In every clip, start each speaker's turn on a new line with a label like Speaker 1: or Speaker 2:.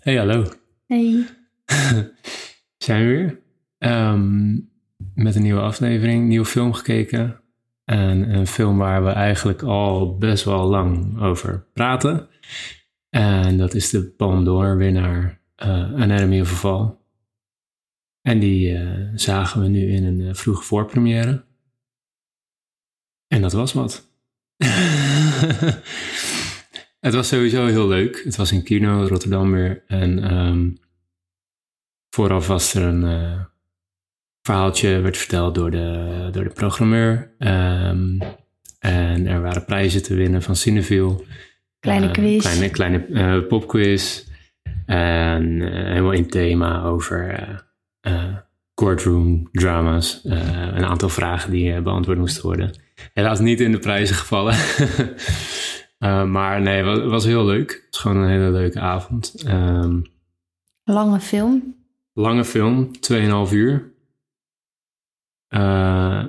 Speaker 1: Hey, hallo.
Speaker 2: Hey.
Speaker 1: Zijn we weer? Ehm, met een nieuwe aflevering, nieuwe film gekeken. En een film waar we eigenlijk al best wel lang over praten. En dat is de Palme d'Or winnaar eh, Anatomy of a Fall. En die eh, zagen we nu in een eh, vroege voorpremière. En dat was wat. het was sowieso heel leuk. Het was in Kino, Rotterdam weer. En ehm, vooraf was er een eh, verhaaltje, werd verteld door de, door de programmeur. Ehm, en er waren prijzen te winnen van Cineville.
Speaker 2: Kleine
Speaker 1: Eh,
Speaker 2: quiz.
Speaker 1: Kleine, kleine eh, popquiz. En eh, helemaal in thema over eh, eh, courtroom drama's. Eh, een aantal vragen die eh, beantwoord moesten worden. Helaas niet in de prijzen gevallen. Eh, maar nee, het was, was heel leuk. Het was gewoon een hele leuke avond. Ehm,
Speaker 2: Lange film.
Speaker 1: lange film, 2,5 uur. Eh,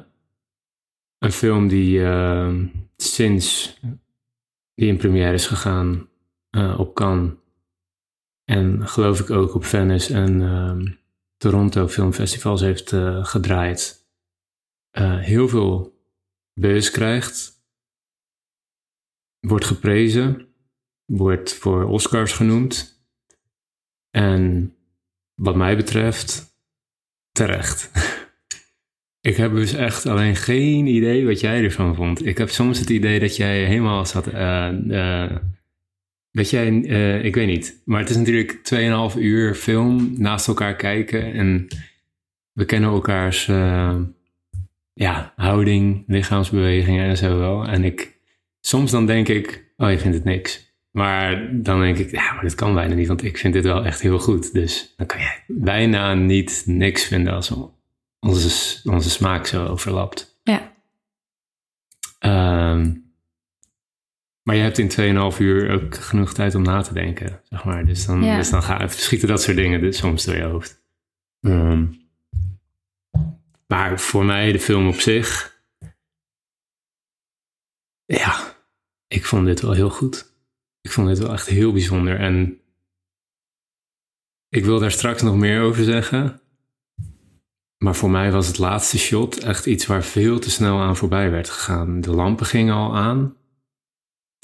Speaker 1: een film die eh, sinds die in première is gegaan eh, op Cannes. En geloof ik ook op Venice en ehm, Toronto filmfestivals heeft eh, gedraaid. eh, heel veel beurs krijgt. Wordt geprezen. Wordt voor Oscars genoemd. En wat mij betreft, terecht. Ik heb dus echt alleen geen idee wat jij ervan vond. Ik heb soms het idee dat jij helemaal zat. eh, eh, dat jij, eh, ik weet niet. Maar het is natuurlijk 2,5 uur film naast elkaar kijken. En we kennen elkaars eh, ja, houding, lichaamsbewegingen en zo wel. En ik, soms dan denk ik, oh je vindt het niks. Maar dan denk ik, ja, maar dit kan bijna niet, want ik vind dit wel echt heel goed. Dus dan kan jij bijna niet niks vinden als onze, onze smaak zo overlapt.
Speaker 2: Ja.
Speaker 1: Ehm, maar je hebt in 2,5 uur ook genoeg tijd om na te denken, zeg maar. Dus dan,
Speaker 2: Ja.
Speaker 1: dus dan ga, schieten dat soort dingen dus soms door je hoofd. Ehm, maar voor mij, de film op zich... Ja, ik vond dit wel heel goed. Ik vond dit wel echt heel bijzonder. En ik wil daar straks nog meer over zeggen. Maar voor mij was het laatste shot echt iets waar veel te snel aan voorbij werd gegaan. De lampen gingen al aan.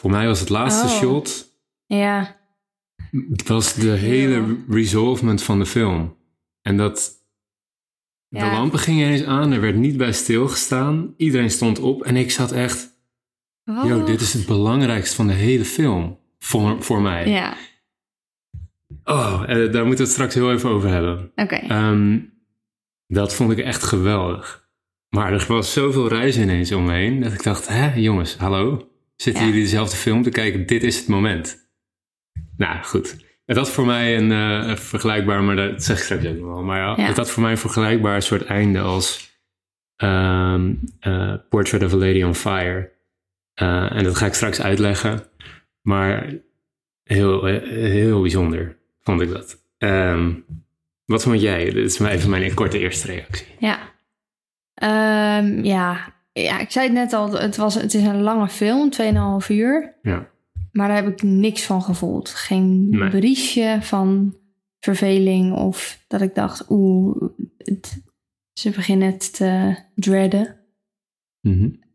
Speaker 1: Voor mij was het laatste
Speaker 2: Oh.
Speaker 1: shot
Speaker 2: Ja.
Speaker 1: het was de hele resolvement van de film. En dat.
Speaker 2: Ja.
Speaker 1: De lampen gingen eens aan, er werd niet bij stilgestaan. Iedereen stond op en ik zat echt. Yo,
Speaker 2: Oh.
Speaker 1: dit is het belangrijkste van de hele film. Voor, voor mij.
Speaker 2: Ja,
Speaker 1: Oh, eh, daar moeten we het straks heel even over hebben.
Speaker 2: oké.
Speaker 1: Ehm, dat vond ik echt geweldig. Maar er was zoveel reis ineens omheen dat ik dacht: hè, jongens, hallo? Zitten
Speaker 2: Ja.
Speaker 1: jullie dezelfde film te kijken? Dit is het moment. Nou goed. Het had voor mij een eh, een vergelijkbaar, maar dat zeg ik straks ook nog wel. Maar ja,
Speaker 2: Ja.
Speaker 1: het had voor mij een vergelijkbaar soort einde als ehm, eh, Portrait of a Lady on Fire. Eh, en dat ga ik straks uitleggen. Maar heel, eh, heel bijzonder vond ik dat. Ehm, wat vond jij? Dit is maar even mijn korte eerste reactie.
Speaker 2: Ja. Ehm, ja. ja, ik zei het net al, het, was, het is een lange film, 2,5 uur.
Speaker 1: Ja.
Speaker 2: Maar daar heb ik niks van gevoeld. Geen
Speaker 1: Nee.
Speaker 2: briesje van verveling of dat ik dacht, oeh, het- ze beginnen het te dreaden.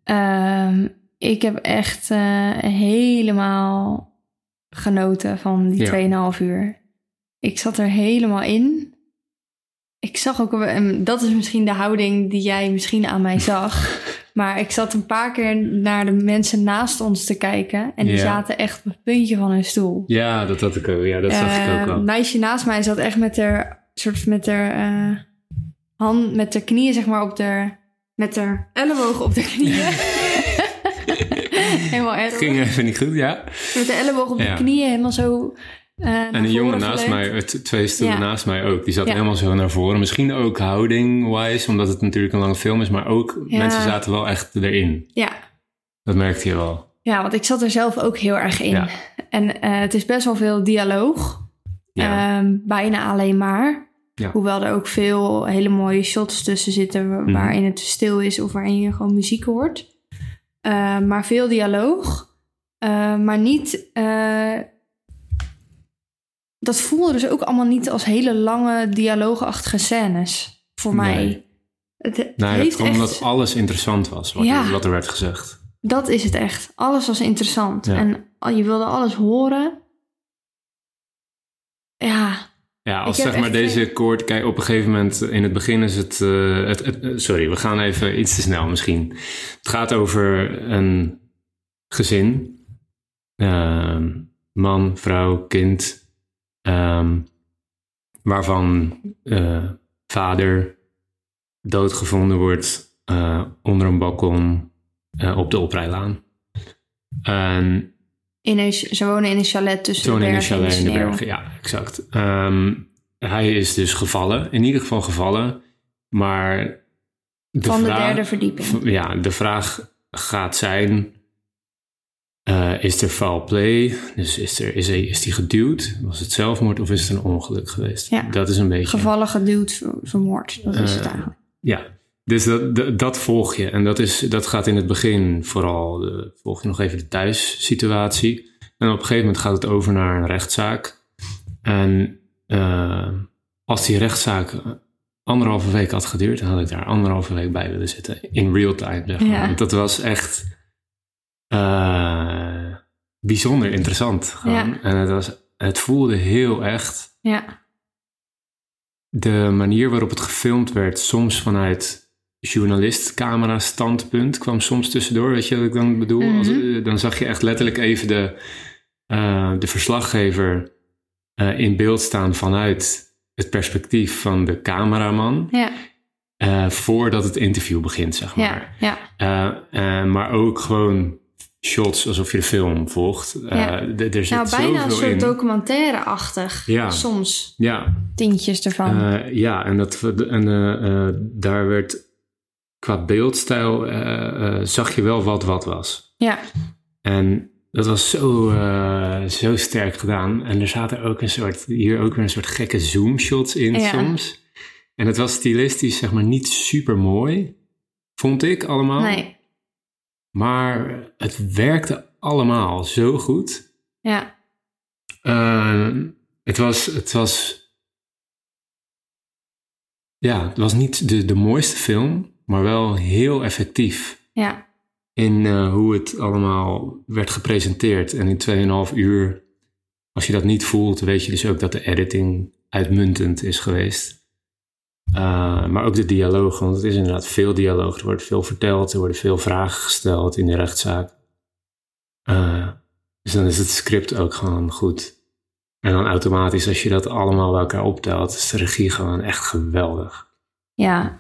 Speaker 2: Ehm, ik heb echt eh, helemaal genoten van die
Speaker 1: Ja.
Speaker 2: 2,5 uur. Ik zat er helemaal in. Ik zag ook, en dat is misschien de houding die jij misschien aan mij zag. maar ik zat een paar keer naar de mensen naast ons te kijken. En die
Speaker 1: Ja.
Speaker 2: zaten echt op het puntje van hun stoel.
Speaker 1: Ja, dat had ik ook. Ja, dat zag ik ook
Speaker 2: Eh,
Speaker 1: al.
Speaker 2: Een meisje naast mij zat echt met haar, soort van met haar eh, hand, met haar knieën zeg maar op de, met haar elleboog op de knieën. helemaal erg.
Speaker 1: Ging even niet goed, ja.
Speaker 2: Met de elleboog op de
Speaker 1: Ja.
Speaker 2: knieën, helemaal zo. eh, naar
Speaker 1: En een
Speaker 2: voren
Speaker 1: jongen naast
Speaker 2: geleund.
Speaker 1: mij, eh, t- twee stoelen
Speaker 2: Ja.
Speaker 1: naast mij ook, die zat
Speaker 2: Ja.
Speaker 1: helemaal zo naar voren. Misschien ook houding-wise, omdat het natuurlijk een lange film is, maar ook
Speaker 2: Ja.
Speaker 1: mensen zaten wel echt erin.
Speaker 2: Ja.
Speaker 1: Dat merkte je wel.
Speaker 2: ja, want ik zat er zelf ook heel erg in.
Speaker 1: Ja.
Speaker 2: En eh, het is best wel veel dialoog.
Speaker 1: Ja, Nou,
Speaker 2: Ehm, bijna alleen maar.
Speaker 1: Ja.
Speaker 2: Hoewel er ook veel hele mooie shots tussen zitten wa-
Speaker 1: Mhm.
Speaker 2: waarin het stil is of waarin je gewoon muziek hoort. Ehm, maar veel dialoog. Ehm, maar niet eh, dat voelde dus ook allemaal niet als hele lange dialoogachtige scènes voor mij.
Speaker 1: Nee.
Speaker 2: Het, het
Speaker 1: Nou, dat
Speaker 2: heeft
Speaker 1: kwam
Speaker 2: echt,
Speaker 1: omdat alles interessant was wat,
Speaker 2: Ja.
Speaker 1: er, wat er werd gezegd.
Speaker 2: dat is het echt. Alles was interessant
Speaker 1: Ja.
Speaker 2: en al- je wilde alles horen. Ja,
Speaker 1: Ja, als
Speaker 2: Ik heb
Speaker 1: zeg maar
Speaker 2: echt
Speaker 1: deze koord... Kijk, op een gegeven moment in het begin is het, eh, het, het- eh, Sorry, we gaan even iets te snel misschien. Het gaat over een gezin. Ehm, man, vrouw, kind. ehm, waarvan eh, vader doodgevonden wordt eh, onder een balkon eh, op de oprijlaan. En
Speaker 2: in een, ze wonen in een chalet tussen
Speaker 1: Toen
Speaker 2: de
Speaker 1: in de
Speaker 2: bergen en de
Speaker 1: chalet in de
Speaker 2: sneeuw.
Speaker 1: bergen, ja, exact. Ehm, hij is dus gevallen, in ieder geval gevallen, maar... De
Speaker 2: van de
Speaker 1: vraag-
Speaker 2: derde verdieping.
Speaker 1: v- Ja, de vraag gaat zijn, eh, is er foul play? Dus is, er, is, hij, is die geduwd? Was het zelfmoord of is het een ongeluk geweest?
Speaker 2: Ja.
Speaker 1: Dat is een beetje...
Speaker 2: Gevallen geduwd, ver- vermoord. Dat is het
Speaker 1: Eh,
Speaker 2: eigenlijk.
Speaker 1: Ja, dus dat, dat, dat volg je. En dat, is, dat gaat in het begin vooral, eh, volg je nog even de thuissituatie. En op een gegeven moment gaat het over naar een rechtszaak. En eh, als die rechtszaak anderhalve week had geduurd, dan had ik daar anderhalve week bij willen zitten. In real time, zeg maar.
Speaker 2: Ja.
Speaker 1: Want dat was echt eh, bijzonder interessant. gewoon.
Speaker 2: Ja.
Speaker 1: En het, was, het voelde heel echt
Speaker 2: Ja,
Speaker 1: de manier waarop het gefilmd werd, soms vanuit journalist-camera standpunt, kwam soms tussendoor. Weet je wat ik dan bedoel?
Speaker 2: Mhm.
Speaker 1: Als, eh, dan zag je echt letterlijk even de, eh, de verslaggever eh, in beeld staan vanuit het perspectief van de cameraman.
Speaker 2: ja,
Speaker 1: eh, voordat het interview begint, zeg maar.
Speaker 2: ja, ja,
Speaker 1: Eh, eh, maar ook gewoon shots alsof je de film volgt. Eh,
Speaker 2: Ja.
Speaker 1: d- er zit
Speaker 2: Nou, bijna
Speaker 1: zoveel
Speaker 2: een soort
Speaker 1: in.
Speaker 2: documentaireachtig.
Speaker 1: Ja.
Speaker 2: Soms
Speaker 1: ja,
Speaker 2: tintjes ervan.
Speaker 1: Eh, ja, en, dat, en eh, eh, daar werd qua beeldstijl eh, eh, zag je wel wat wat was.
Speaker 2: ja,
Speaker 1: En dat was zo, eh, zo sterk gedaan. En er zaten ook een soort, hier ook weer een soort gekke zoomshots in
Speaker 2: Ja.
Speaker 1: soms. En het was stilistisch zeg maar niet super mooi, vond ik allemaal.
Speaker 2: nee,
Speaker 1: Maar het werkte allemaal zo goed.
Speaker 2: ja,
Speaker 1: Eh, het was, het was, ja, het was niet de, de mooiste film, maar wel heel effectief
Speaker 2: ja,
Speaker 1: in eh, hoe het allemaal werd gepresenteerd. En in 2,5 uur, als je dat niet voelt, weet je dus ook dat de editing uitmuntend is geweest. Eh, maar ook de dialoog, want het is inderdaad veel dialoog. Er wordt veel verteld, er worden veel vragen gesteld in de rechtszaak. Eh, dus dan is het script ook gewoon goed. En dan automatisch, als je dat allemaal bij elkaar optelt, is de regie gewoon echt geweldig.
Speaker 2: ja.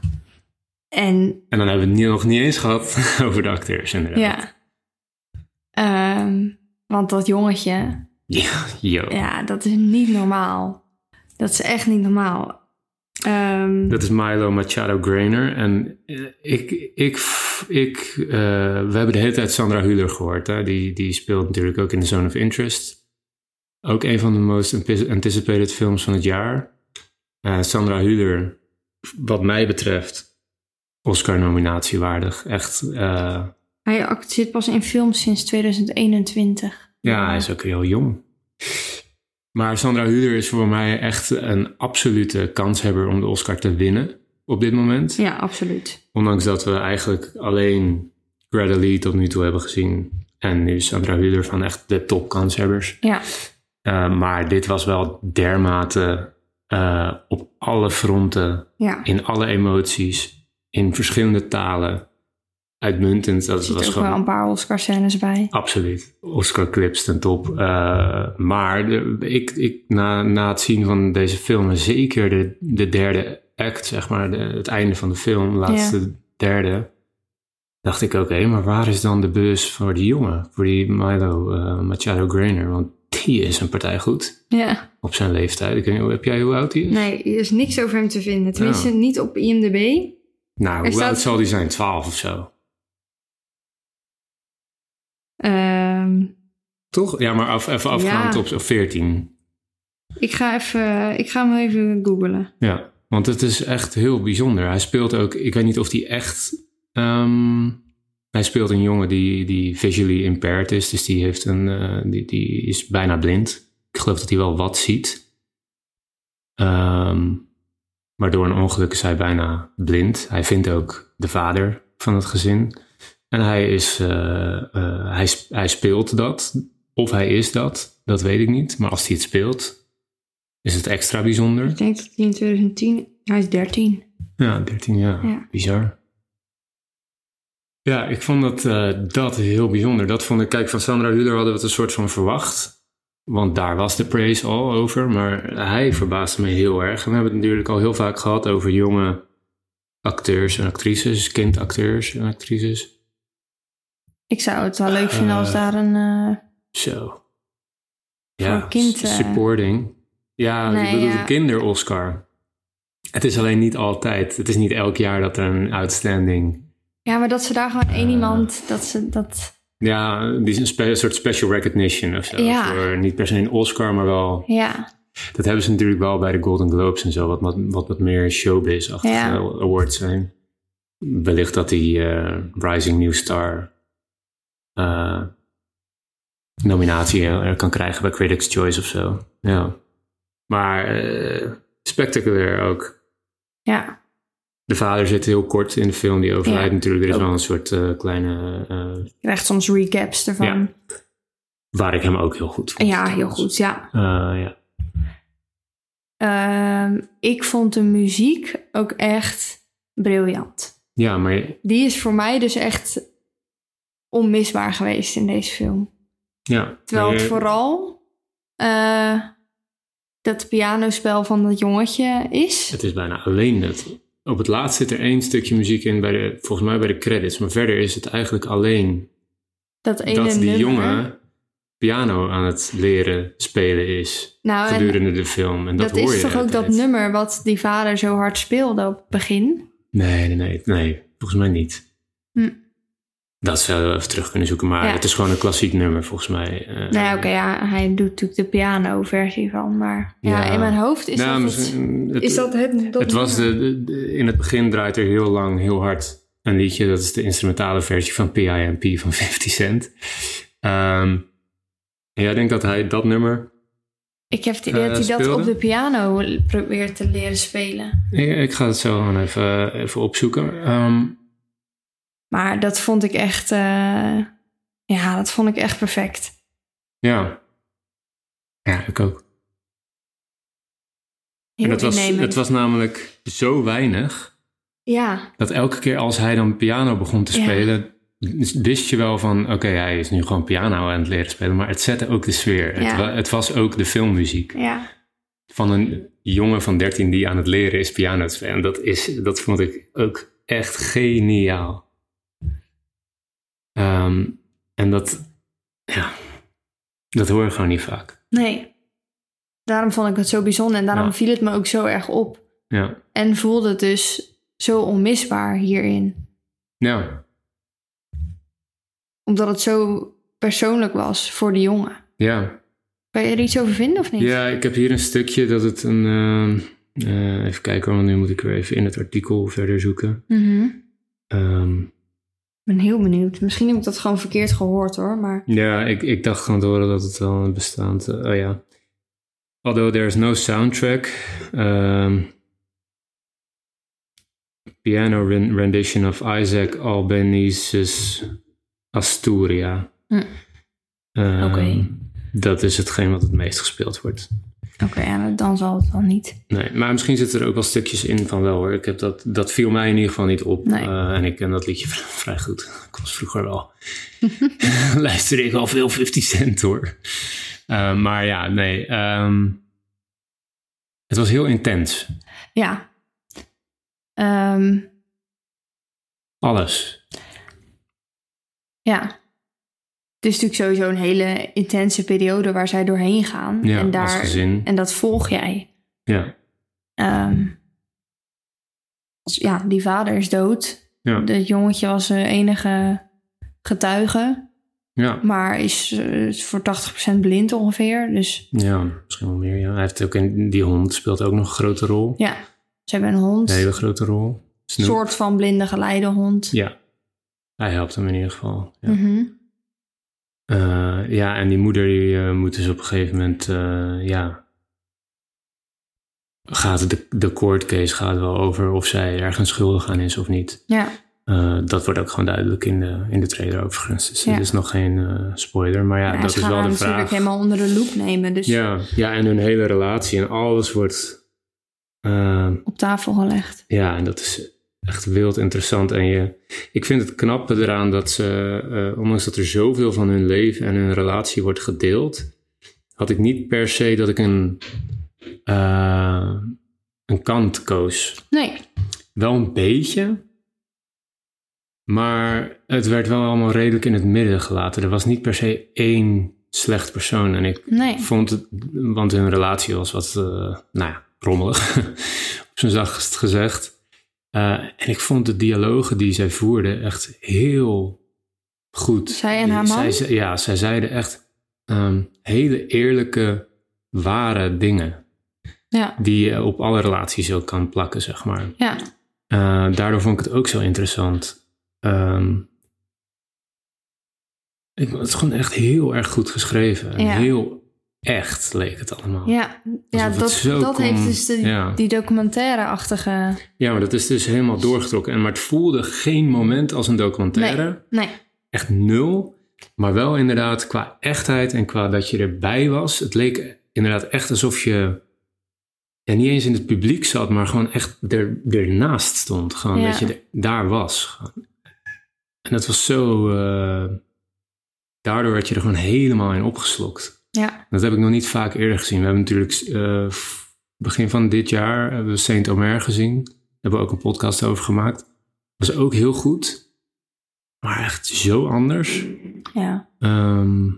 Speaker 2: En
Speaker 1: En dan hebben we het niet- nog niet eens gehad over de acteurs,
Speaker 2: ja.
Speaker 1: inderdaad.
Speaker 2: Ehm, want dat jongetje,
Speaker 1: Ja, yo.
Speaker 2: ja, dat is niet normaal. Dat is echt niet normaal. Ehm,
Speaker 1: Dat is Milo Machado Grainer. En eh, ik, ik, ik, eh, we hebben de hele tijd Sandra Hüller gehoord. Hè? Die, die speelt natuurlijk ook in The Zone of Interest. Ook een van de most ante- anticipated films van het jaar. Eh, Sandra Hüller, wat mij betreft, Oscar-nominatie waardig. Echt, eh,
Speaker 2: Hij act- zit pas in films sinds 2021.
Speaker 1: ja, hij is ook heel jong. Maar Sandra Hüller is voor mij echt een absolute kanshebber om de Oscar te winnen op dit moment.
Speaker 2: Ja, absoluut.
Speaker 1: Ondanks dat we eigenlijk alleen Greta Lee tot nu toe hebben gezien. En nu Sandra Hüller van echt de topkanshebbers.
Speaker 2: Ja,
Speaker 1: Eh, maar dit was wel dermate eh, op alle fronten,
Speaker 2: ja.
Speaker 1: in alle emoties, in verschillende talen. Uitmuntend. Dat
Speaker 2: Er zitten
Speaker 1: was
Speaker 2: ook
Speaker 1: gewoon
Speaker 2: wel een paar Oscar-scènes bij.
Speaker 1: Absoluut. Oscar clips ten top. Eh, maar de- ik, ik, na, na het zien van deze film, en zeker de, de derde act, zeg maar, de- het einde van de film, laatste derde, dacht ik, oké, maar waar is dan de bus voor die jongen? Voor die Milo eh, Machado Grainer? Want die is een partij goed
Speaker 2: Ja.
Speaker 1: op zijn leeftijd. Ik weet niet, heb jij hoe oud die is?
Speaker 2: Nee, er is niks over hem te vinden. Tenminste,
Speaker 1: Ja.
Speaker 2: niet op IMDb.
Speaker 1: Nou, hoe
Speaker 2: staat-
Speaker 1: oud zal die zijn? Twaalf of zo.
Speaker 2: Ehm,
Speaker 1: Toch? Ja, maar af, even afgaand
Speaker 2: Ja.
Speaker 1: op op 14.
Speaker 2: ik, ga even, ik ga hem even googlen.
Speaker 1: Ja, want het is echt heel bijzonder. Hij speelt ook, ik weet niet of hij echt. ehm, hij speelt een jongen die, die visually impaired is, dus die, heeft een, eh, die, die is bijna blind. Ik geloof dat hij wel wat ziet. Ehm, Maar door een ongeluk is hij bijna blind. Hij vindt ook de vader van het gezin. En hij, is, eh, eh, hij, sp- hij speelt dat. Of hij is dat, dat weet ik niet. Maar als hij het speelt, is het extra bijzonder.
Speaker 2: Ik denk dat hij in 2010... Hij is 13.
Speaker 1: Ja, 13 jaar.
Speaker 2: Ja.
Speaker 1: Bizar. Ja, ik vond dat, eh, dat heel bijzonder. Dat vond ik, kijk, van Sandra Hüller hadden we het een soort van verwacht. Want daar was de praise al over. Maar hij verbaasde me heel erg. En we hebben het natuurlijk al heel vaak gehad over jonge acteurs en actrices. Kindacteurs en actrices.
Speaker 2: Ik zou het wel leuk vinden als
Speaker 1: Eh.
Speaker 2: daar een... eh,
Speaker 1: Zo. Ja,
Speaker 2: Voor kind,
Speaker 1: s-
Speaker 2: eh.
Speaker 1: supporting. Ja,
Speaker 2: Nee,
Speaker 1: ik bedoel
Speaker 2: ja.
Speaker 1: een kinder-Oscar. Het is alleen niet altijd. Het is niet elk jaar dat er een outstanding
Speaker 2: ja, maar dat ze daar gewoon één
Speaker 1: Eh.
Speaker 2: iemand... Dat ze dat...
Speaker 1: Ja, die is een, spe- een soort special recognition of zo.
Speaker 2: Ja.
Speaker 1: Voor niet per se een Oscar, maar wel...
Speaker 2: Ja,
Speaker 1: Dat hebben ze natuurlijk wel bij de Golden Globes en zo. Wat wat, wat, wat meer showbiz-achtige
Speaker 2: Ja.
Speaker 1: awards zijn. Wellicht dat die eh, Rising New Star eh, nominatie eh, kan krijgen bij Critics' Choice of zo. Ja. Maar eh, spectaculair ook.
Speaker 2: ja.
Speaker 1: De vader zit heel kort in de film, die overlijdt
Speaker 2: Ja.
Speaker 1: natuurlijk. Er is
Speaker 2: Ook.
Speaker 1: wel een soort eh, kleine... eh,
Speaker 2: Je krijgt soms recaps ervan.
Speaker 1: waar ik hem ook heel goed
Speaker 2: Ja,
Speaker 1: vond.
Speaker 2: heel goed, ja.
Speaker 1: Eh, ja.
Speaker 2: Ehm, ik vond de muziek ook echt briljant.
Speaker 1: Ja, maar je-
Speaker 2: Die is voor mij dus echt onmisbaar geweest in deze film.
Speaker 1: ja.
Speaker 2: Terwijl
Speaker 1: maar
Speaker 2: het
Speaker 1: je-
Speaker 2: vooral eh, dat pianospel van dat jongetje is.
Speaker 1: het is bijna alleen dat. Op het laatst zit er één stukje muziek in, bij de, volgens mij bij de credits. Maar verder is het eigenlijk alleen
Speaker 2: Dat ene
Speaker 1: dat die
Speaker 2: nummer.
Speaker 1: jongen piano aan het leren spelen is
Speaker 2: Nou, en
Speaker 1: gedurende de film. En dat,
Speaker 2: dat,
Speaker 1: hoor
Speaker 2: is
Speaker 1: je
Speaker 2: toch
Speaker 1: de hele
Speaker 2: ook dat
Speaker 1: tijd.
Speaker 2: nummer wat die vader zo hard speelde op het begin?
Speaker 1: Nee, nee, nee, nee, volgens mij niet.
Speaker 2: Hm.
Speaker 1: Dat zouden we even terug kunnen zoeken. Maar
Speaker 2: Ja.
Speaker 1: het is gewoon een klassiek nummer, volgens mij. Eh,
Speaker 2: nou ja, oké, ja, hij doet natuurlijk de piano-versie van. Maar ja,
Speaker 1: Ja.
Speaker 2: in mijn hoofd is,
Speaker 1: nou,
Speaker 2: dat, het,
Speaker 1: misschien- het-
Speaker 2: is dat het. dat
Speaker 1: het was
Speaker 2: nummer.
Speaker 1: de, de- de- in het begin draait er heel lang, heel hard een liedje. Dat is de instrumentale versie van P.I.M.P. van 50 Cent. Ehm, en jij denkt dat hij dat nummer...
Speaker 2: Ik heb het idee
Speaker 1: eh,
Speaker 2: dat hij dat
Speaker 1: speelde?
Speaker 2: op de piano probeert te leren spelen.
Speaker 1: Ik, ik ga het zo gewoon even, even opzoeken. Ehm,
Speaker 2: Maar dat vond ik echt. eh, ja, dat vond ik echt perfect.
Speaker 1: ja. Ja, ik ook.
Speaker 2: Heel
Speaker 1: en het was,
Speaker 2: innemend.
Speaker 1: het was namelijk zo weinig...
Speaker 2: Ja,
Speaker 1: dat elke keer als hij dan piano begon te
Speaker 2: Ja.
Speaker 1: spelen... wist je wel van... oké, hij is nu gewoon piano aan het leren spelen... maar het zette ook de sfeer. Het,
Speaker 2: Ja.
Speaker 1: wa- het was ook de filmmuziek.
Speaker 2: ja.
Speaker 1: van een jongen van 13 die aan het leren is piano te spelen. En dat, is, dat vond ik ook echt geniaal. Ehm, en dat, ja, dat hoor je gewoon niet vaak.
Speaker 2: Nee. Daarom vond ik het zo bijzonder en daarom
Speaker 1: Ja.
Speaker 2: viel het me ook zo erg op.
Speaker 1: Ja,
Speaker 2: En voelde het dus zo onmisbaar hierin.
Speaker 1: ja,
Speaker 2: Omdat het zo persoonlijk was voor de jongen.
Speaker 1: ja.
Speaker 2: Kan je er iets over vinden of niet?
Speaker 1: ja ik heb hier een stukje dat het een... ehm, eh, even kijken, want nu moet ik weer even in het artikel verder zoeken.
Speaker 2: Mhm.
Speaker 1: Ehm,
Speaker 2: Ik ben heel benieuwd. Misschien heb ik dat gewoon verkeerd gehoord hoor. Maar
Speaker 1: Ja, ik, ik dacht gewoon te horen dat het wel een bestaand... eh, oh ja. Although there is no soundtrack. ehm, piano ren- rendition of Isaac Albanese's Asturia.
Speaker 2: Hm.
Speaker 1: Ehm,
Speaker 2: Oké.
Speaker 1: Dat is hetgeen wat het meest gespeeld wordt.
Speaker 2: oké, ja, dan zal het wel niet.
Speaker 1: Nee, maar misschien zitten er ook wel stukjes in van wel hoor. Ik heb dat, dat viel mij in ieder geval niet op.
Speaker 2: Nee.
Speaker 1: Eh, en ik ken dat liedje vri- vrij goed. Ik was vroeger wel. Luisterde ik al veel 50 cent hoor. Eh, maar ja, nee. ehm, het was heel intens.
Speaker 2: Ja. Ehm,
Speaker 1: Alles.
Speaker 2: Ja. Het is natuurlijk sowieso een hele intense periode waar zij doorheen gaan.
Speaker 1: Ja,
Speaker 2: en,
Speaker 1: als
Speaker 2: daar,
Speaker 1: gezin.
Speaker 2: en dat volg jij.
Speaker 1: Ja,
Speaker 2: Ehm, als- ja, die vader is dood.
Speaker 1: Ja.
Speaker 2: Dat jongetje was de enige getuige,
Speaker 1: ja,
Speaker 2: maar is, eh, is voor 80% blind ongeveer. Dus
Speaker 1: ja. Misschien wel meer. Ja. Hij heeft ook een, die hond speelt ook nog een grote rol.
Speaker 2: ja, ze hebben een hond.
Speaker 1: Een hele grote rol.
Speaker 2: een
Speaker 1: Snoep.
Speaker 2: soort van blinde geleidehond.
Speaker 1: Ja. Hij helpt hem in ieder geval. Ja.
Speaker 2: Mhm.
Speaker 1: Eh, ja, en die moeder die eh, moet dus op een gegeven moment, eh, ja, gaat de, de court case gaat wel over of zij ergens schuldig aan is of niet.
Speaker 2: Ja,
Speaker 1: Eh, dat wordt ook gewoon duidelijk in de, in de trailer overigens. Dus
Speaker 2: Ja.
Speaker 1: dat is nog geen eh, spoiler. Maar ja,
Speaker 2: Maar
Speaker 1: dat
Speaker 2: ze
Speaker 1: is
Speaker 2: gaan
Speaker 1: wel
Speaker 2: haar
Speaker 1: de
Speaker 2: natuurlijk
Speaker 1: vraag.
Speaker 2: helemaal onder de loep nemen. Dus
Speaker 1: Ja, ja, en hun hele relatie en alles wordt... eh,
Speaker 2: op tafel gelegd.
Speaker 1: ja, en dat is echt wild interessant. En je, ik vind het knappe eraan dat ze, eh, ondanks dat er zoveel van hun leven en hun relatie wordt gedeeld, had ik niet per se dat ik een, eh, een kant koos
Speaker 2: Nee,
Speaker 1: wel een beetje. Maar het werd wel allemaal redelijk in het midden gelaten. Er was niet per se één slecht persoon. En ik
Speaker 2: nee.
Speaker 1: vond het, want hun relatie was wat, eh, nou ja, rommelig. Op zijn zachtst gezegd. Eh, en ik vond de dialogen die zij voerden echt heel goed.
Speaker 2: Zij en haar
Speaker 1: Zij
Speaker 2: man?
Speaker 1: ze- ja, zij zeiden echt ehm, hele eerlijke, ware dingen.
Speaker 2: Ja.
Speaker 1: Die je op alle relaties ook kan plakken, zeg maar.
Speaker 2: Ja,
Speaker 1: Eh, daardoor vond ik het ook zo interessant. Ehm, ik, het is gewoon echt heel erg goed geschreven. En
Speaker 2: Ja.
Speaker 1: Heel echt leek het allemaal.
Speaker 2: ja. ja
Speaker 1: Alsof het
Speaker 2: dat,
Speaker 1: zo
Speaker 2: dat
Speaker 1: kon-
Speaker 2: heeft dus de,
Speaker 1: ja.
Speaker 2: die documentaire-achtige...
Speaker 1: Ja, maar dat is dus helemaal doorgetrokken. En, maar het voelde geen moment als een documentaire.
Speaker 2: Nee,
Speaker 1: Echt nul. Maar wel inderdaad qua echtheid en qua dat je erbij was. Het leek inderdaad echt alsof je... En niet eens in het publiek zat, maar gewoon echt er, ernaast stond. Gewoon
Speaker 2: Ja.
Speaker 1: dat je er- daar was. En dat was zo... eh, daardoor werd je er gewoon helemaal in opgeslokt.
Speaker 2: ja.
Speaker 1: Dat heb ik nog niet vaak eerder gezien. We hebben natuurlijk eh, f- begin van dit jaar hebben we Saint Omer gezien. Daar hebben we ook een podcast over gemaakt. Was ook heel goed. Maar echt zo anders.
Speaker 2: Ja,
Speaker 1: Ehm,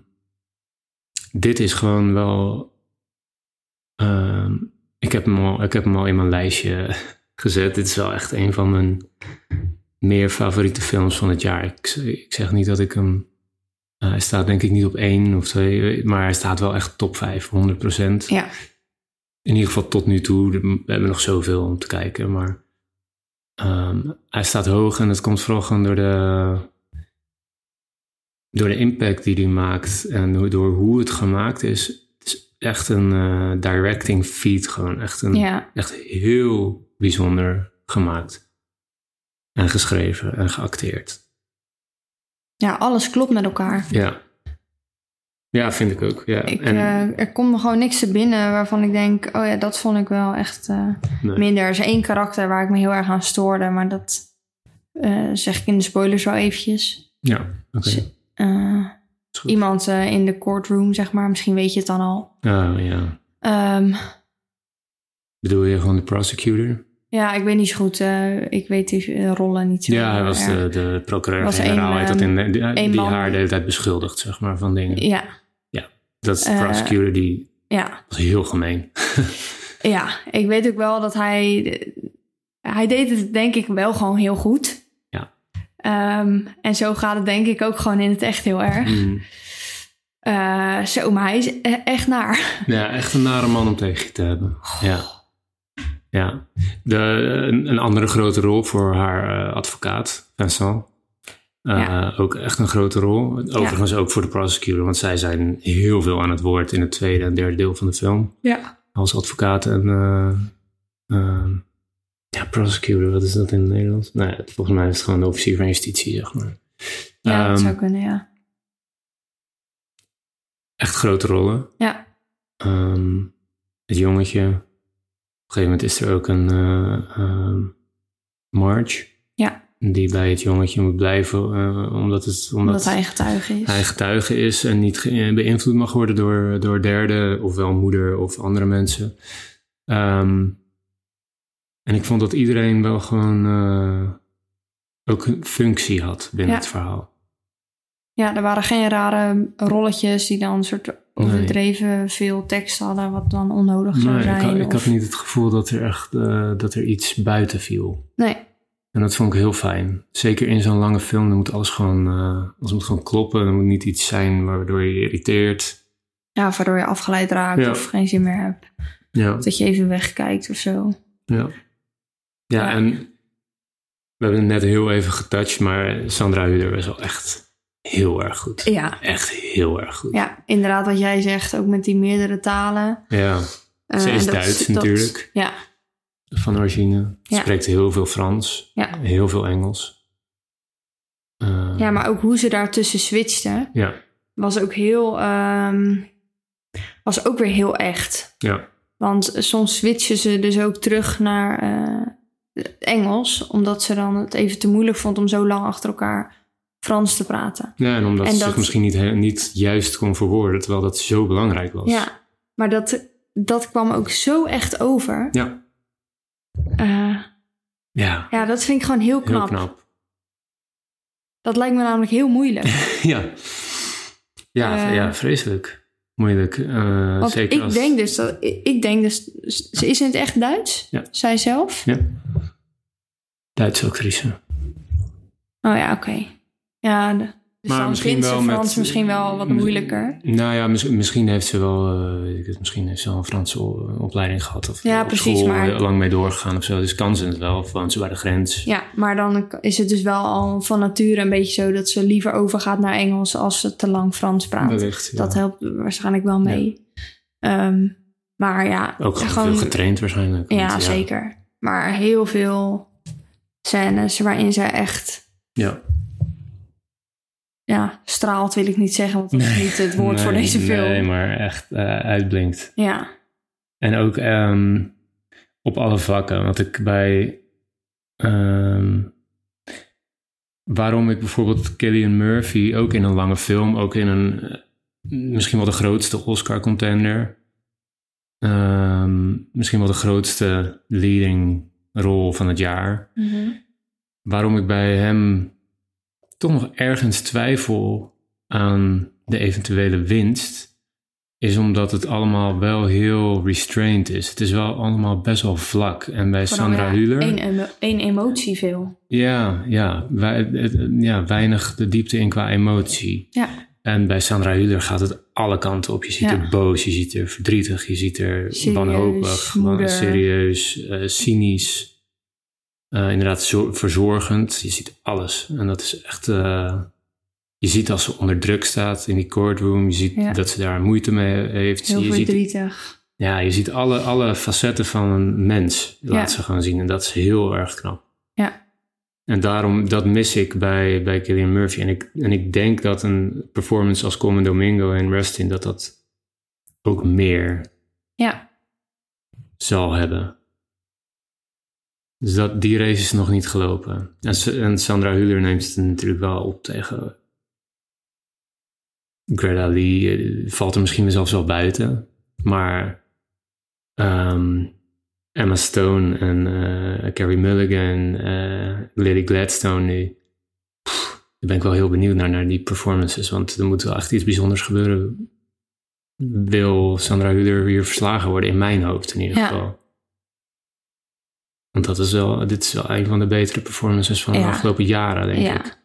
Speaker 1: dit is gewoon wel. ehm, ik, heb hem al, ik heb hem al in mijn lijstje gezet. Dit is wel echt een van mijn meer favoriete films van het jaar. Ik, z- ik zeg niet dat ik hem. eh, hij staat denk ik niet op één of twee, maar hij staat wel echt top 5, 100 procent.
Speaker 2: ja.
Speaker 1: In ieder geval tot nu toe. We hebben nog zoveel om te kijken, maar ehm, hij staat hoog en dat komt vooral gewoon door de, door de impact die hij maakt en hoe- door hoe het gemaakt is. Het is echt een eh, directing feat, gewoon echt, een,
Speaker 2: ja.
Speaker 1: echt heel bijzonder gemaakt. En geschreven en geacteerd.
Speaker 2: Ja, alles klopt met elkaar.
Speaker 1: Ja. Ja, vind ik ook. Ja.
Speaker 2: Ik,
Speaker 1: En-
Speaker 2: eh, er komt me gewoon niks te binnen waarvan ik denk... oh ja, dat vond ik wel echt eh,
Speaker 1: Nee.
Speaker 2: minder. Er is één karakter waar ik me heel erg aan stoorde... maar dat eh, zeg ik in de spoilers wel eventjes.
Speaker 1: ja, oké.
Speaker 2: Ze- Eh,
Speaker 1: is goed.
Speaker 2: iemand eh, in de courtroom, zeg maar. Misschien weet je het dan al.
Speaker 1: Ah, ja.
Speaker 2: Ehm,
Speaker 1: Bedoel je gewoon de prosecutor?
Speaker 2: ja, ik weet niet zo goed. eh, ik weet die eh, rollen niet zo
Speaker 1: Ja, hij
Speaker 2: heel
Speaker 1: was
Speaker 2: erg.
Speaker 1: de, de
Speaker 2: Was één, ehm,
Speaker 1: procureur-generaal. Hij had dat in de- die, die
Speaker 2: man.
Speaker 1: haar de hele tijd beschuldigd, zeg maar, van dingen.
Speaker 2: Ja,
Speaker 1: Dat is de
Speaker 2: eh,
Speaker 1: prosecutor, die
Speaker 2: ja,
Speaker 1: was heel gemeen.
Speaker 2: ja. Ik weet ook wel dat hij... Hij deed het denk ik wel gewoon heel goed.
Speaker 1: Ja.
Speaker 2: Ehm, en zo gaat het denk ik ook gewoon in het echt heel erg.
Speaker 1: Mm.
Speaker 2: Eh, zo, maar hij is e- echt naar.
Speaker 1: Ja, echt een nare man om tegen je te hebben. Ja. ja. De, een, een andere grote rol voor haar eh, advocaat, Vincent. Eh,
Speaker 2: Ja.
Speaker 1: Ook echt een grote rol. Overigens ook voor de prosecutor, want zij zijn heel veel aan het woord in het tweede en derde deel van de film.
Speaker 2: Ja.
Speaker 1: als advocaat en eh, ehm, ja, prosecutor, wat is dat in het Nederlands? Nou, ja, volgens mij is het gewoon de officier van justitie, zeg maar.
Speaker 2: Ja, dat
Speaker 1: Ehm,
Speaker 2: zou kunnen, ja.
Speaker 1: Echt grote rollen.
Speaker 2: Ja.
Speaker 1: Ehm, het jongetje. Op een gegeven moment is er ook een eh ehm, Marge.
Speaker 2: Ja.
Speaker 1: Die bij het jongetje moet blijven, eh, omdat, het, omdat,
Speaker 2: Omdat hij getuige is.
Speaker 1: hij getuige is en niet ge- eh, beïnvloed mag worden door, door derden, ofwel moeder of andere mensen. Ehm, en ik vond dat iedereen wel gewoon eh, ook een functie had binnen
Speaker 2: Ja.
Speaker 1: het verhaal.
Speaker 2: Ja, er waren geen rare rolletjes die dan een soort overdreven veel tekst hadden, wat dan onnodig zou
Speaker 1: Maar ik,
Speaker 2: zijn.
Speaker 1: had, ik
Speaker 2: of-
Speaker 1: had niet het gevoel dat er echt eh, dat er iets buiten viel.
Speaker 2: Nee,
Speaker 1: En dat vond ik heel fijn. Zeker in zo'n lange film, dan moet alles gewoon, eh, alles moet gewoon kloppen. Er moet niet iets zijn waardoor je je irriteert.
Speaker 2: ja, waardoor je afgeleid raakt
Speaker 1: Ja.
Speaker 2: of geen zin meer hebt.
Speaker 1: Ja.
Speaker 2: Dat je even wegkijkt of zo.
Speaker 1: Ja. Ja,
Speaker 2: Ja.
Speaker 1: en we hebben het net heel even getouched, maar Sandra Huder was wel echt heel erg goed.
Speaker 2: Ja.
Speaker 1: Echt heel erg goed.
Speaker 2: ja, inderdaad wat jij zegt, ook met die meerdere talen.
Speaker 1: Ja,
Speaker 2: Eh, Eh,
Speaker 1: Ze
Speaker 2: en
Speaker 1: is
Speaker 2: dat
Speaker 1: Duits
Speaker 2: dat-
Speaker 1: natuurlijk.
Speaker 2: ja,
Speaker 1: van origine.
Speaker 2: Ja.
Speaker 1: Spreekt heel veel Frans,
Speaker 2: Ja.
Speaker 1: heel veel Engels. Eh,
Speaker 2: ja, maar ook hoe ze daartussen switchte
Speaker 1: ja,
Speaker 2: was ook heel, ehm, was ook weer heel echt.
Speaker 1: ja,
Speaker 2: Want soms switchen ze dus ook terug naar eh, het Engels, omdat ze dan het even te moeilijk vond om zo lang achter elkaar Frans te praten.
Speaker 1: ja. En omdat
Speaker 2: En
Speaker 1: ze
Speaker 2: dat-
Speaker 1: zich misschien niet, he- niet juist kon verwoorden, terwijl dat zo belangrijk was.
Speaker 2: Ja, maar dat, dat kwam ook zo echt over.
Speaker 1: Ja,
Speaker 2: Eh,
Speaker 1: ja
Speaker 2: ja, dat vind ik gewoon heel
Speaker 1: heel
Speaker 2: knap.
Speaker 1: knap.
Speaker 2: Dat lijkt me namelijk heel moeilijk.
Speaker 1: ja. Ja,
Speaker 2: Eh.
Speaker 1: ja, vreselijk. Moeilijk. eh,
Speaker 2: Want
Speaker 1: zeker
Speaker 2: ik
Speaker 1: als...
Speaker 2: denk dus dat... Ik ik denk dus... Ze is in het echt Duits?
Speaker 1: Ja.
Speaker 2: Zij zelf?
Speaker 1: Ja. Duitse actrice.
Speaker 2: Oh ja, oké. Ja, de, dus
Speaker 1: Maar
Speaker 2: dan
Speaker 1: misschien
Speaker 2: vindt ze
Speaker 1: wel met-
Speaker 2: Frans misschien wel wat
Speaker 1: Mm.
Speaker 2: moeilijker.
Speaker 1: Nou ja, mis- misschien heeft ze wel, eh, weet ik het, misschien heeft ze wel een Franse o- opleiding gehad. Of
Speaker 2: Ja,
Speaker 1: op
Speaker 2: precies,
Speaker 1: school
Speaker 2: maar-
Speaker 1: heel lang mee doorgegaan of zo. Dus kan ze het wel, of woont ze bij de grens.
Speaker 2: Ja, maar dan is het dus wel al van nature een beetje zo... dat ze liever overgaat naar Engels als ze te lang Frans praat.
Speaker 1: Wellicht, ja.
Speaker 2: Dat helpt waarschijnlijk wel mee. Ehm, maar ja,
Speaker 1: Ook gewoon, veel getraind waarschijnlijk.
Speaker 2: Ja,
Speaker 1: want
Speaker 2: zeker. Maar heel veel scènes waarin ze echt
Speaker 1: Ja.
Speaker 2: ja, straalt, wil ik niet zeggen, want dat is niet het woord voor
Speaker 1: Nee,
Speaker 2: deze film.
Speaker 1: Nee, maar echt eh, uitblinkt.
Speaker 2: Ja,
Speaker 1: En ook ehm, op alle vlakken. Want ik bij... ehm, waarom ik bijvoorbeeld Killian Murphy ook in een lange film... ook in een... eh, misschien wel de grootste Oscar-contender... ehm, misschien wel de grootste leading rol van het jaar... waarom ik bij hem toch nog ergens twijfel aan de eventuele winst, is omdat het allemaal wel heel restrained is. Het is wel allemaal best wel vlak. En bij Sandra Hüller...
Speaker 2: Eén emo- één emotie veel.
Speaker 1: Ja, ja, wij, het- ja, weinig de diepte in qua emotie.
Speaker 2: Ja,
Speaker 1: En bij Sandra Hüller gaat het alle kanten op. Je ziet
Speaker 2: Ja.
Speaker 1: er boos, je ziet er verdrietig, je ziet er
Speaker 2: Serieus,
Speaker 1: wanhopig, wan-
Speaker 2: moeder.
Speaker 1: serieus, eh, cynisch. Eh, inderdaad, zo- verzorgend. Je ziet alles. En dat is echt. eh, je ziet als ze onder druk staat in die courtroom. Je ziet
Speaker 2: Ja.
Speaker 1: dat ze daar moeite mee heeft.
Speaker 2: heel
Speaker 1: je ziet,
Speaker 2: verdrietig.
Speaker 1: ja, je ziet alle, alle facetten van een mens. Laat
Speaker 2: Ja.
Speaker 1: ze gaan zien. En dat is heel erg knap.
Speaker 2: Ja.
Speaker 1: En daarom, dat mis ik bij, bij Killian Murphy. En ik, en ik denk dat een performance als Common Domingo en Rustin, dat dat ook meer
Speaker 2: Ja,
Speaker 1: zal hebben. Dus dat, die race is nog niet gelopen. En, S- en Sandra Hüller neemt het natuurlijk wel op tegen Greta Lee. eh, Valt er misschien zelfs wel buiten. Maar ehm, Emma Stone en eh, Carrie Mulligan, eh Lily Gladstone nu. Pff, daar ben ik wel heel benieuwd naar, naar die performances. Want er moet wel echt iets bijzonders gebeuren. Wil Sandra Hüller hier verslagen worden? In mijn hoofd in ieder
Speaker 2: Ja.
Speaker 1: geval. Want dat is wel, dit is wel een van de betere performances van de
Speaker 2: Ja.
Speaker 1: afgelopen jaren, denk
Speaker 2: Ja.
Speaker 1: ik.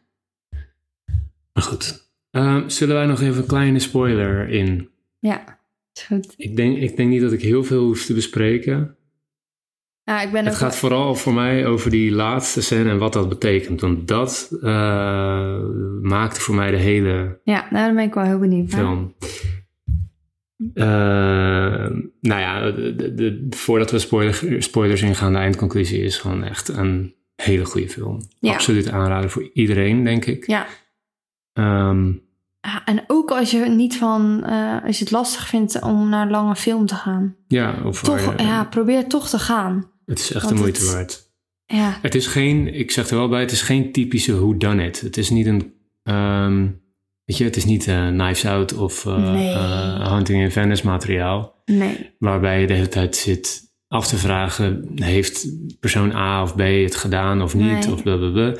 Speaker 1: Maar goed. Ehm, zullen wij nog even een kleine spoiler in
Speaker 2: ja. Is goed.
Speaker 1: ik denk, ik denk niet dat ik heel veel hoef te bespreken.
Speaker 2: Ja, ik ben
Speaker 1: Het
Speaker 2: ook-
Speaker 1: gaat vooral voor mij over die laatste scène en wat dat betekent. Want dat eh, maakte voor mij de hele
Speaker 2: Ja, nou, daar ben ik wel heel benieuwd naar.
Speaker 1: film. Eh, nou ja, de, de- de- voordat we spoiler, spoilers ingaan, de eindconclusie is gewoon echt een hele goede film.
Speaker 2: Ja.
Speaker 1: Absoluut aanraden voor iedereen, denk ik.
Speaker 2: Ja.
Speaker 1: Ehm,
Speaker 2: Ja, En ook als je, niet van, eh, als je het lastig vindt om naar een lange film te gaan.
Speaker 1: ja, of
Speaker 2: Toch,
Speaker 1: waar-
Speaker 2: ja, probeer toch te gaan.
Speaker 1: het is echt
Speaker 2: want
Speaker 1: de moeite
Speaker 2: het-
Speaker 1: waard.
Speaker 2: Ja,
Speaker 1: Het is geen, ik zeg er wel bij, het is geen typische who done it. Het is niet een, ehm, weet je, het is niet eh, Knives Out of eh,
Speaker 2: Nee.
Speaker 1: eh, Hunting in Venice materiaal.
Speaker 2: nee.
Speaker 1: Waarbij je de hele tijd zit af te vragen, heeft persoon A of B het gedaan of niet?
Speaker 2: Nee.
Speaker 1: Of blablabla.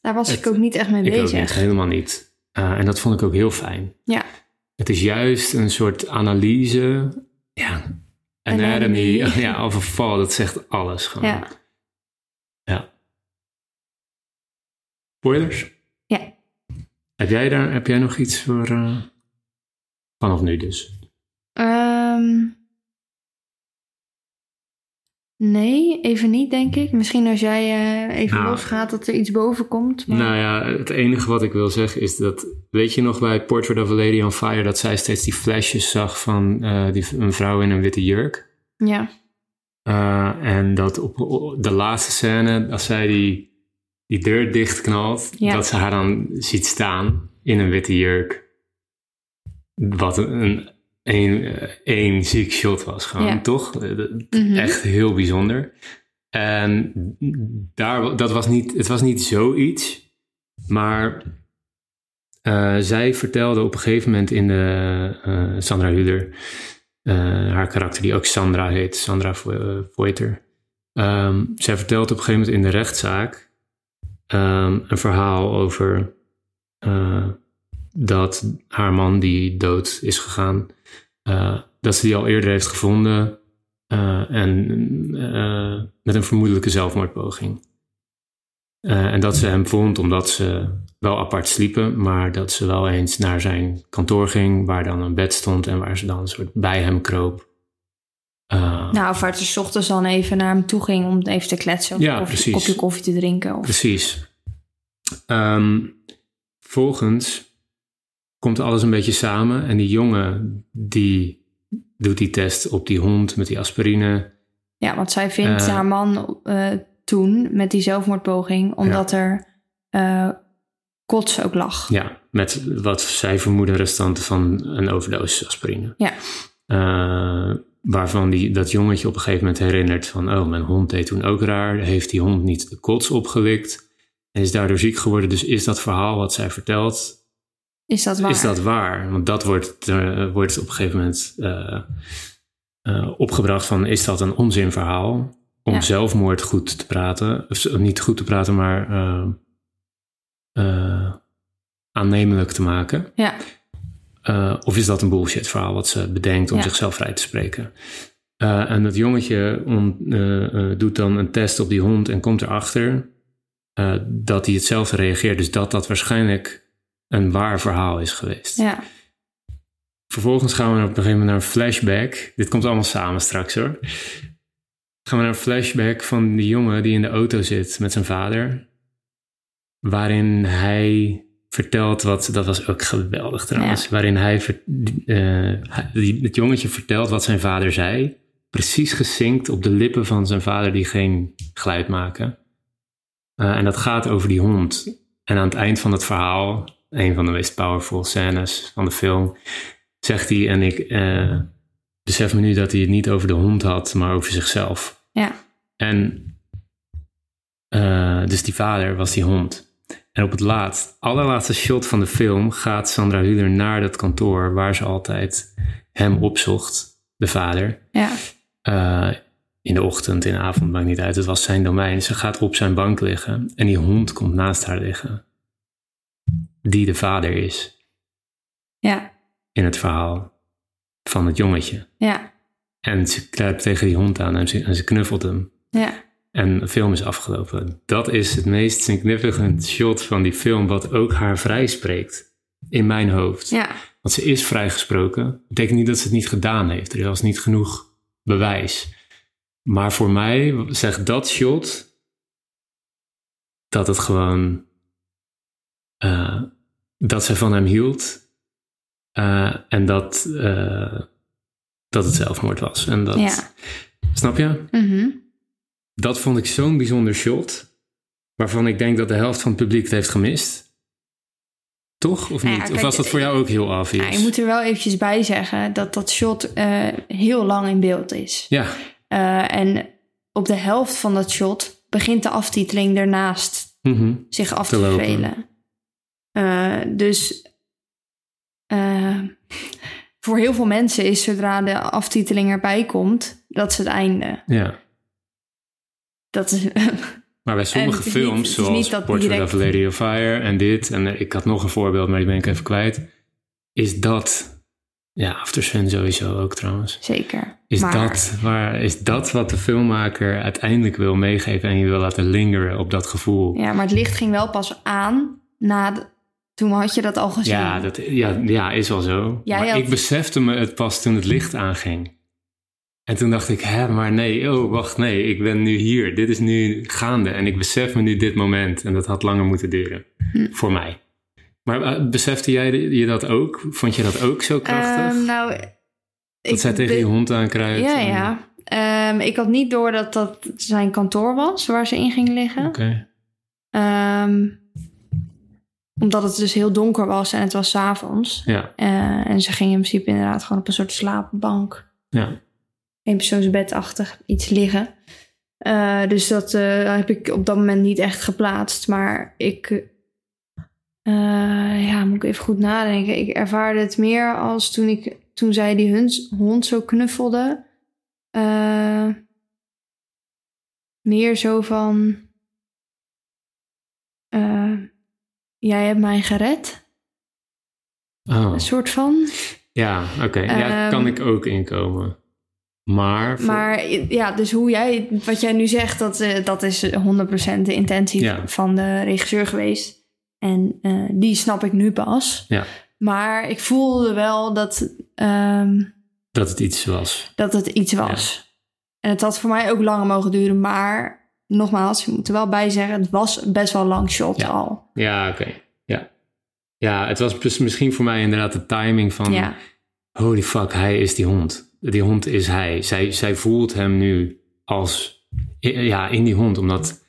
Speaker 2: Daar was
Speaker 1: Het-
Speaker 2: ik ook niet echt mee
Speaker 1: Ik ook
Speaker 2: bezig.
Speaker 1: niet, helemaal niet. Eh, en dat vond ik ook heel fijn.
Speaker 2: Ja.
Speaker 1: Het is juist een soort analyse, ja, anatomy,
Speaker 2: Anatomy.
Speaker 1: ja, of een val, dat zegt alles gewoon.
Speaker 2: Ja.
Speaker 1: Spoilers?
Speaker 2: Ja.
Speaker 1: Heb jij, daar, heb jij nog iets voor... eh, vanaf nu dus.
Speaker 2: Ehm, nee, even niet, denk ik. Misschien als jij eh, even
Speaker 1: Nou.
Speaker 2: losgaat dat er iets boven komt. Maar...
Speaker 1: Nou ja, het enige wat ik wil zeggen is dat... Weet je nog bij Portrait of a Lady on Fire... dat zij steeds die flesjes zag van eh, die, een vrouw in een witte jurk?
Speaker 2: Ja.
Speaker 1: Eh, en dat op de laatste scène, als zij die, die deur dichtknalt,
Speaker 2: Ja.
Speaker 1: dat ze haar dan ziet staan in een witte jurk. Wat een, een, een, eh, één ziek shot was gewoon,
Speaker 2: Ja.
Speaker 1: toch? Eh, dat-
Speaker 2: Mhm.
Speaker 1: Echt heel bijzonder. En daar, dat was niet, het was niet zoiets, maar eh, zij vertelde op een gegeven moment in de eh, Sandra Huder, eh, haar karakter die ook Sandra heet, Sandra Vo- eh, Voiter. Ehm, zij vertelt op een gegeven moment in de rechtszaak ehm, een verhaal over eh, dat haar man die dood is gegaan, eh, dat ze die al eerder heeft gevonden eh, en eh, met een vermoedelijke zelfmoordpoging. Eh, en dat ze hem vond omdat ze wel apart sliepen, maar dat ze wel eens naar zijn kantoor ging, waar dan een bed stond en waar ze dan een soort bij hem kroop. Eh,
Speaker 2: Nou, of waar ze 's ochtends dan even naar hem toe ging om even te kletsen. Of
Speaker 1: Ja,
Speaker 2: een koffie-
Speaker 1: precies.
Speaker 2: kopje koffie te drinken. Of...
Speaker 1: Precies. Ehm volgens komt alles een beetje samen en die jongen die doet die test op die hond met die aspirine.
Speaker 2: Ja, want zij vindt
Speaker 1: Eh.
Speaker 2: haar man eh, toen met die zelfmoordpoging, omdat er eh, kots ook lag.
Speaker 1: Ja, met wat zij vermoeden restanten van een overdosis aspirine.
Speaker 2: Ja.
Speaker 1: Eh, waarvan die, dat jongetje op een gegeven moment herinnert van... oh, mijn hond deed toen ook raar. Heeft die hond niet de kots opgelikt? En is daardoor ziek geworden. Dus is dat verhaal wat zij vertelt
Speaker 2: Is dat waar?
Speaker 1: Is dat waar? Want dat wordt, eh, wordt op een gegeven moment eh, eh, opgebracht van is dat een onzinverhaal? Om
Speaker 2: Ja.
Speaker 1: zelfmoord goed te praten. Of z- niet goed te praten, maar eh, eh, aannemelijk te maken.
Speaker 2: Ja,
Speaker 1: Eh, of is dat een bullshit verhaal wat ze bedenkt om
Speaker 2: Ja.
Speaker 1: zichzelf vrij te spreken? Eh, en dat jongetje on- eh, eh, doet dan een test op die hond en komt erachter eh, dat hij hetzelfde reageert. Dus dat dat waarschijnlijk een waar verhaal is geweest.
Speaker 2: ja.
Speaker 1: Vervolgens gaan we op een gegeven moment naar een flashback. Dit komt allemaal samen straks hoor. Gaan we naar een flashback van die jongen die in de auto zit met zijn vader. Waarin hij vertelt wat, dat was ook geweldig trouwens. Waarin hij, ver- eh, hij- die- het jongetje vertelt wat zijn vader zei. Precies gezinkt op de lippen van zijn vader die geen geluid maken. Eh, en dat gaat over die hond. En aan het eind van het verhaal, een van de meest powerful scènes van de film, zegt hij en ik eh, besef me nu dat hij het niet over de hond had, maar over zichzelf.
Speaker 2: Ja.
Speaker 1: En eh, dus die vader was die hond. En op het laatst, allerlaatste shot van de film gaat Sandra Hüller naar dat kantoor waar ze altijd hem opzocht, de vader.
Speaker 2: ja.
Speaker 1: Eh, in de ochtend, in de avond, maakt niet uit. Het was zijn domein. Ze gaat op zijn bank liggen en die hond komt naast haar liggen. Die de vader is
Speaker 2: Ja,
Speaker 1: in het verhaal van het jongetje.
Speaker 2: ja,
Speaker 1: En ze kruipt tegen die hond aan en ze, en ze knuffelt hem.
Speaker 2: ja,
Speaker 1: En de film is afgelopen. Dat is het meest significant shot van die film, wat ook haar vrijspreekt. In mijn hoofd.
Speaker 2: ja,
Speaker 1: Want ze is vrijgesproken. Betekent niet dat ze het niet gedaan heeft. Er was niet genoeg bewijs. Maar voor mij zegt dat shot dat het gewoon. eh, dat ze van hem hield. eh, en dat, eh, dat het zelfmoord was. En dat,
Speaker 2: ja.
Speaker 1: Snap je?
Speaker 2: Mhm.
Speaker 1: Dat vond ik zo'n bijzonder shot. Waarvan ik denk dat de helft van het publiek het heeft gemist. Toch? Of
Speaker 2: Nou
Speaker 1: niet?
Speaker 2: ja,
Speaker 1: of
Speaker 2: kijk,
Speaker 1: was dat voor jou ook heel obvious?
Speaker 2: Ja, je moet er wel eventjes bij zeggen dat dat shot eh, heel lang in beeld is.
Speaker 1: Ja,
Speaker 2: Eh, en op de helft van dat shot begint de aftiteling daarnaast
Speaker 1: mhm.
Speaker 2: zich af
Speaker 1: Te
Speaker 2: te,
Speaker 1: lopen.
Speaker 2: spelen. Eh, dus eh, voor heel veel mensen is zodra de aftiteling erbij komt, dat is het einde.
Speaker 1: ja.
Speaker 2: Dat is,
Speaker 1: Maar bij sommige
Speaker 2: het is niet-
Speaker 1: films,
Speaker 2: het is
Speaker 1: zoals
Speaker 2: niet dat
Speaker 1: Portrait
Speaker 2: direct-
Speaker 1: of a Lady of Fire en dit, en eh, ik had nog een voorbeeld, maar die ben ik even kwijt, is dat, ja, After Sun sowieso ook trouwens,
Speaker 2: zeker.
Speaker 1: is,
Speaker 2: Maar-
Speaker 1: dat, waar, is dat wat de filmmaker uiteindelijk wil meegeven en je wil laten lingeren op dat gevoel? Ja,
Speaker 2: Ja, maar het licht ging wel pas aan na de- toen had je dat al gezien.
Speaker 1: dat, ja, ja is wel zo.
Speaker 2: Jij
Speaker 1: maar
Speaker 2: had-
Speaker 1: ik besefte me het pas toen het licht aanging. En toen dacht ik, hè, maar nee, oh, wacht, nee, ik ben nu hier. Dit is nu gaande en ik besef me nu dit moment. En dat had langer moeten duren,
Speaker 2: Hm.
Speaker 1: voor mij. Maar eh, besefte jij de- je dat ook? Vond je dat ook zo krachtig?
Speaker 2: Ehm, nou,
Speaker 1: dat zij tegen je hond aankruipt?
Speaker 2: Ja,
Speaker 1: en-
Speaker 2: ja. Ehm, ik had niet door dat dat zijn kantoor was waar ze in ging liggen.
Speaker 1: Oké.
Speaker 2: Ehm, omdat het dus heel donker was en het was 's avonds.
Speaker 1: Ja,
Speaker 2: Eh, en ze ging in principe inderdaad gewoon op een soort slaapbank
Speaker 1: ja.
Speaker 2: eenpersoonsbedachtig iets liggen. Eh, dus dat eh, heb ik op dat moment niet echt geplaatst. Maar ik. eh, ja, moet ik even goed nadenken. Ik ervaarde het meer als toen, ik, toen zij die hund, hond zo knuffelde. Eh, meer zo van. eh, jij hebt mij gered.
Speaker 1: Oh,
Speaker 2: Een soort van.
Speaker 1: ja, oké. Ja,
Speaker 2: Dus- Ehm,
Speaker 1: kan ik ook inkomen. Maar, voor-
Speaker 2: Maar ja, dus hoe jij, wat jij nu zegt, dat, eh, dat is 100% de intentie
Speaker 1: Ja.
Speaker 2: van de regisseur geweest. En eh, die snap ik nu pas.
Speaker 1: Ja.
Speaker 2: Maar ik voelde wel dat, ehm,
Speaker 1: dat het iets was.
Speaker 2: dat het iets was. En het had voor mij ook langer mogen duren. Maar nogmaals, je moet er wel bij zeggen, het was best wel lang shot
Speaker 1: Ja.
Speaker 2: al.
Speaker 1: Ja, oké. Ja. ja, het was dus misschien voor mij inderdaad de timing van...
Speaker 2: Ja.
Speaker 1: holy fuck, hij is die hond. Die hond is hij. Zij, zij voelt hem nu als, ja, in die hond. Omdat,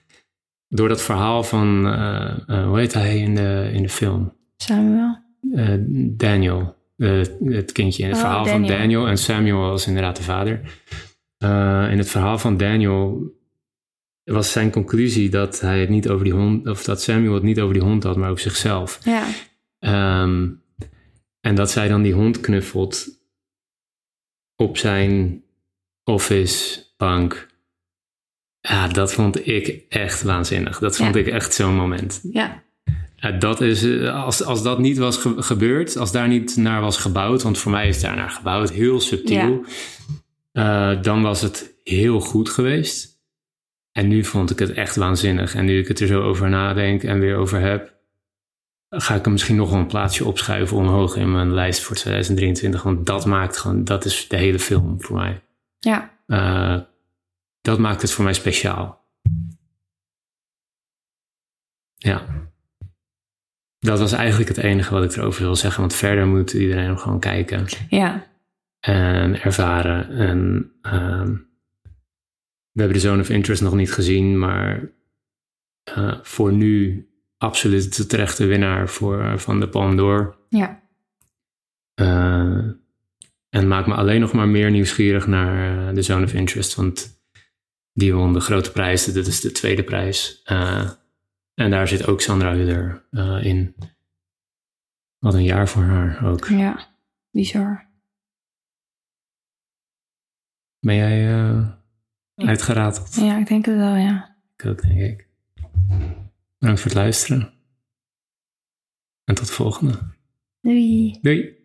Speaker 1: door dat verhaal van, eh, eh, hoe heet hij in de, in de film?
Speaker 2: Samuel.
Speaker 1: Eh, Daniel, eh, het kindje. Het
Speaker 2: Oh,
Speaker 1: verhaal van
Speaker 2: Daniel.
Speaker 1: Daniel en Samuel was inderdaad de vader. Eh, in het verhaal van Daniel was zijn conclusie dat hij het niet over die hond, of dat Samuel het niet over die hond had, maar over zichzelf.
Speaker 2: Ja.
Speaker 1: Ehm, en dat zij dan die hond knuffelt op zijn office bank. Ja, dat vond ik echt waanzinnig. Dat vond
Speaker 2: Ja.
Speaker 1: ik echt zo'n moment.
Speaker 2: Ja.
Speaker 1: Ja, dat is, eh, als, als dat niet was ge- gebeurd, als daar niet naar was gebouwd, want voor mij is daar naar gebouwd, heel subtiel, eh, dan was het heel goed geweest. En nu vond ik het echt waanzinnig. En nu ik het er zo over nadenk en weer over heb, ga ik hem misschien nog wel een plaatsje opschuiven omhoog in mijn lijst voor 2023. Want dat maakt gewoon, dat is de hele film voor mij.
Speaker 2: Ja.
Speaker 1: Eh, dat maakt het voor mij speciaal. Ja. Dat was eigenlijk het enige wat ik erover wil zeggen. Want verder moet iedereen hem gewoon kijken
Speaker 2: Ja.
Speaker 1: en ervaren. En ehm, we hebben de Zone of Interest nog niet gezien, maar eh, voor nu absoluut de terechte winnaar voor, van de Palme d'Or.
Speaker 2: Ja.
Speaker 1: Eh, en maakt me alleen nog maar meer nieuwsgierig naar eh, de Zone of Interest. Want die won de grote prijs. Dit is de tweede prijs. Eh, en daar zit ook Sandra Huller eh, in. Wat een jaar voor haar ook.
Speaker 2: Ja. Bizar.
Speaker 1: Ben jij eh, uitgerateld?
Speaker 2: Ja, ik denk het wel, ja.
Speaker 1: Ik ook, denk ik. Bedankt voor het luisteren. En tot de volgende.
Speaker 2: Doei.
Speaker 1: Doei!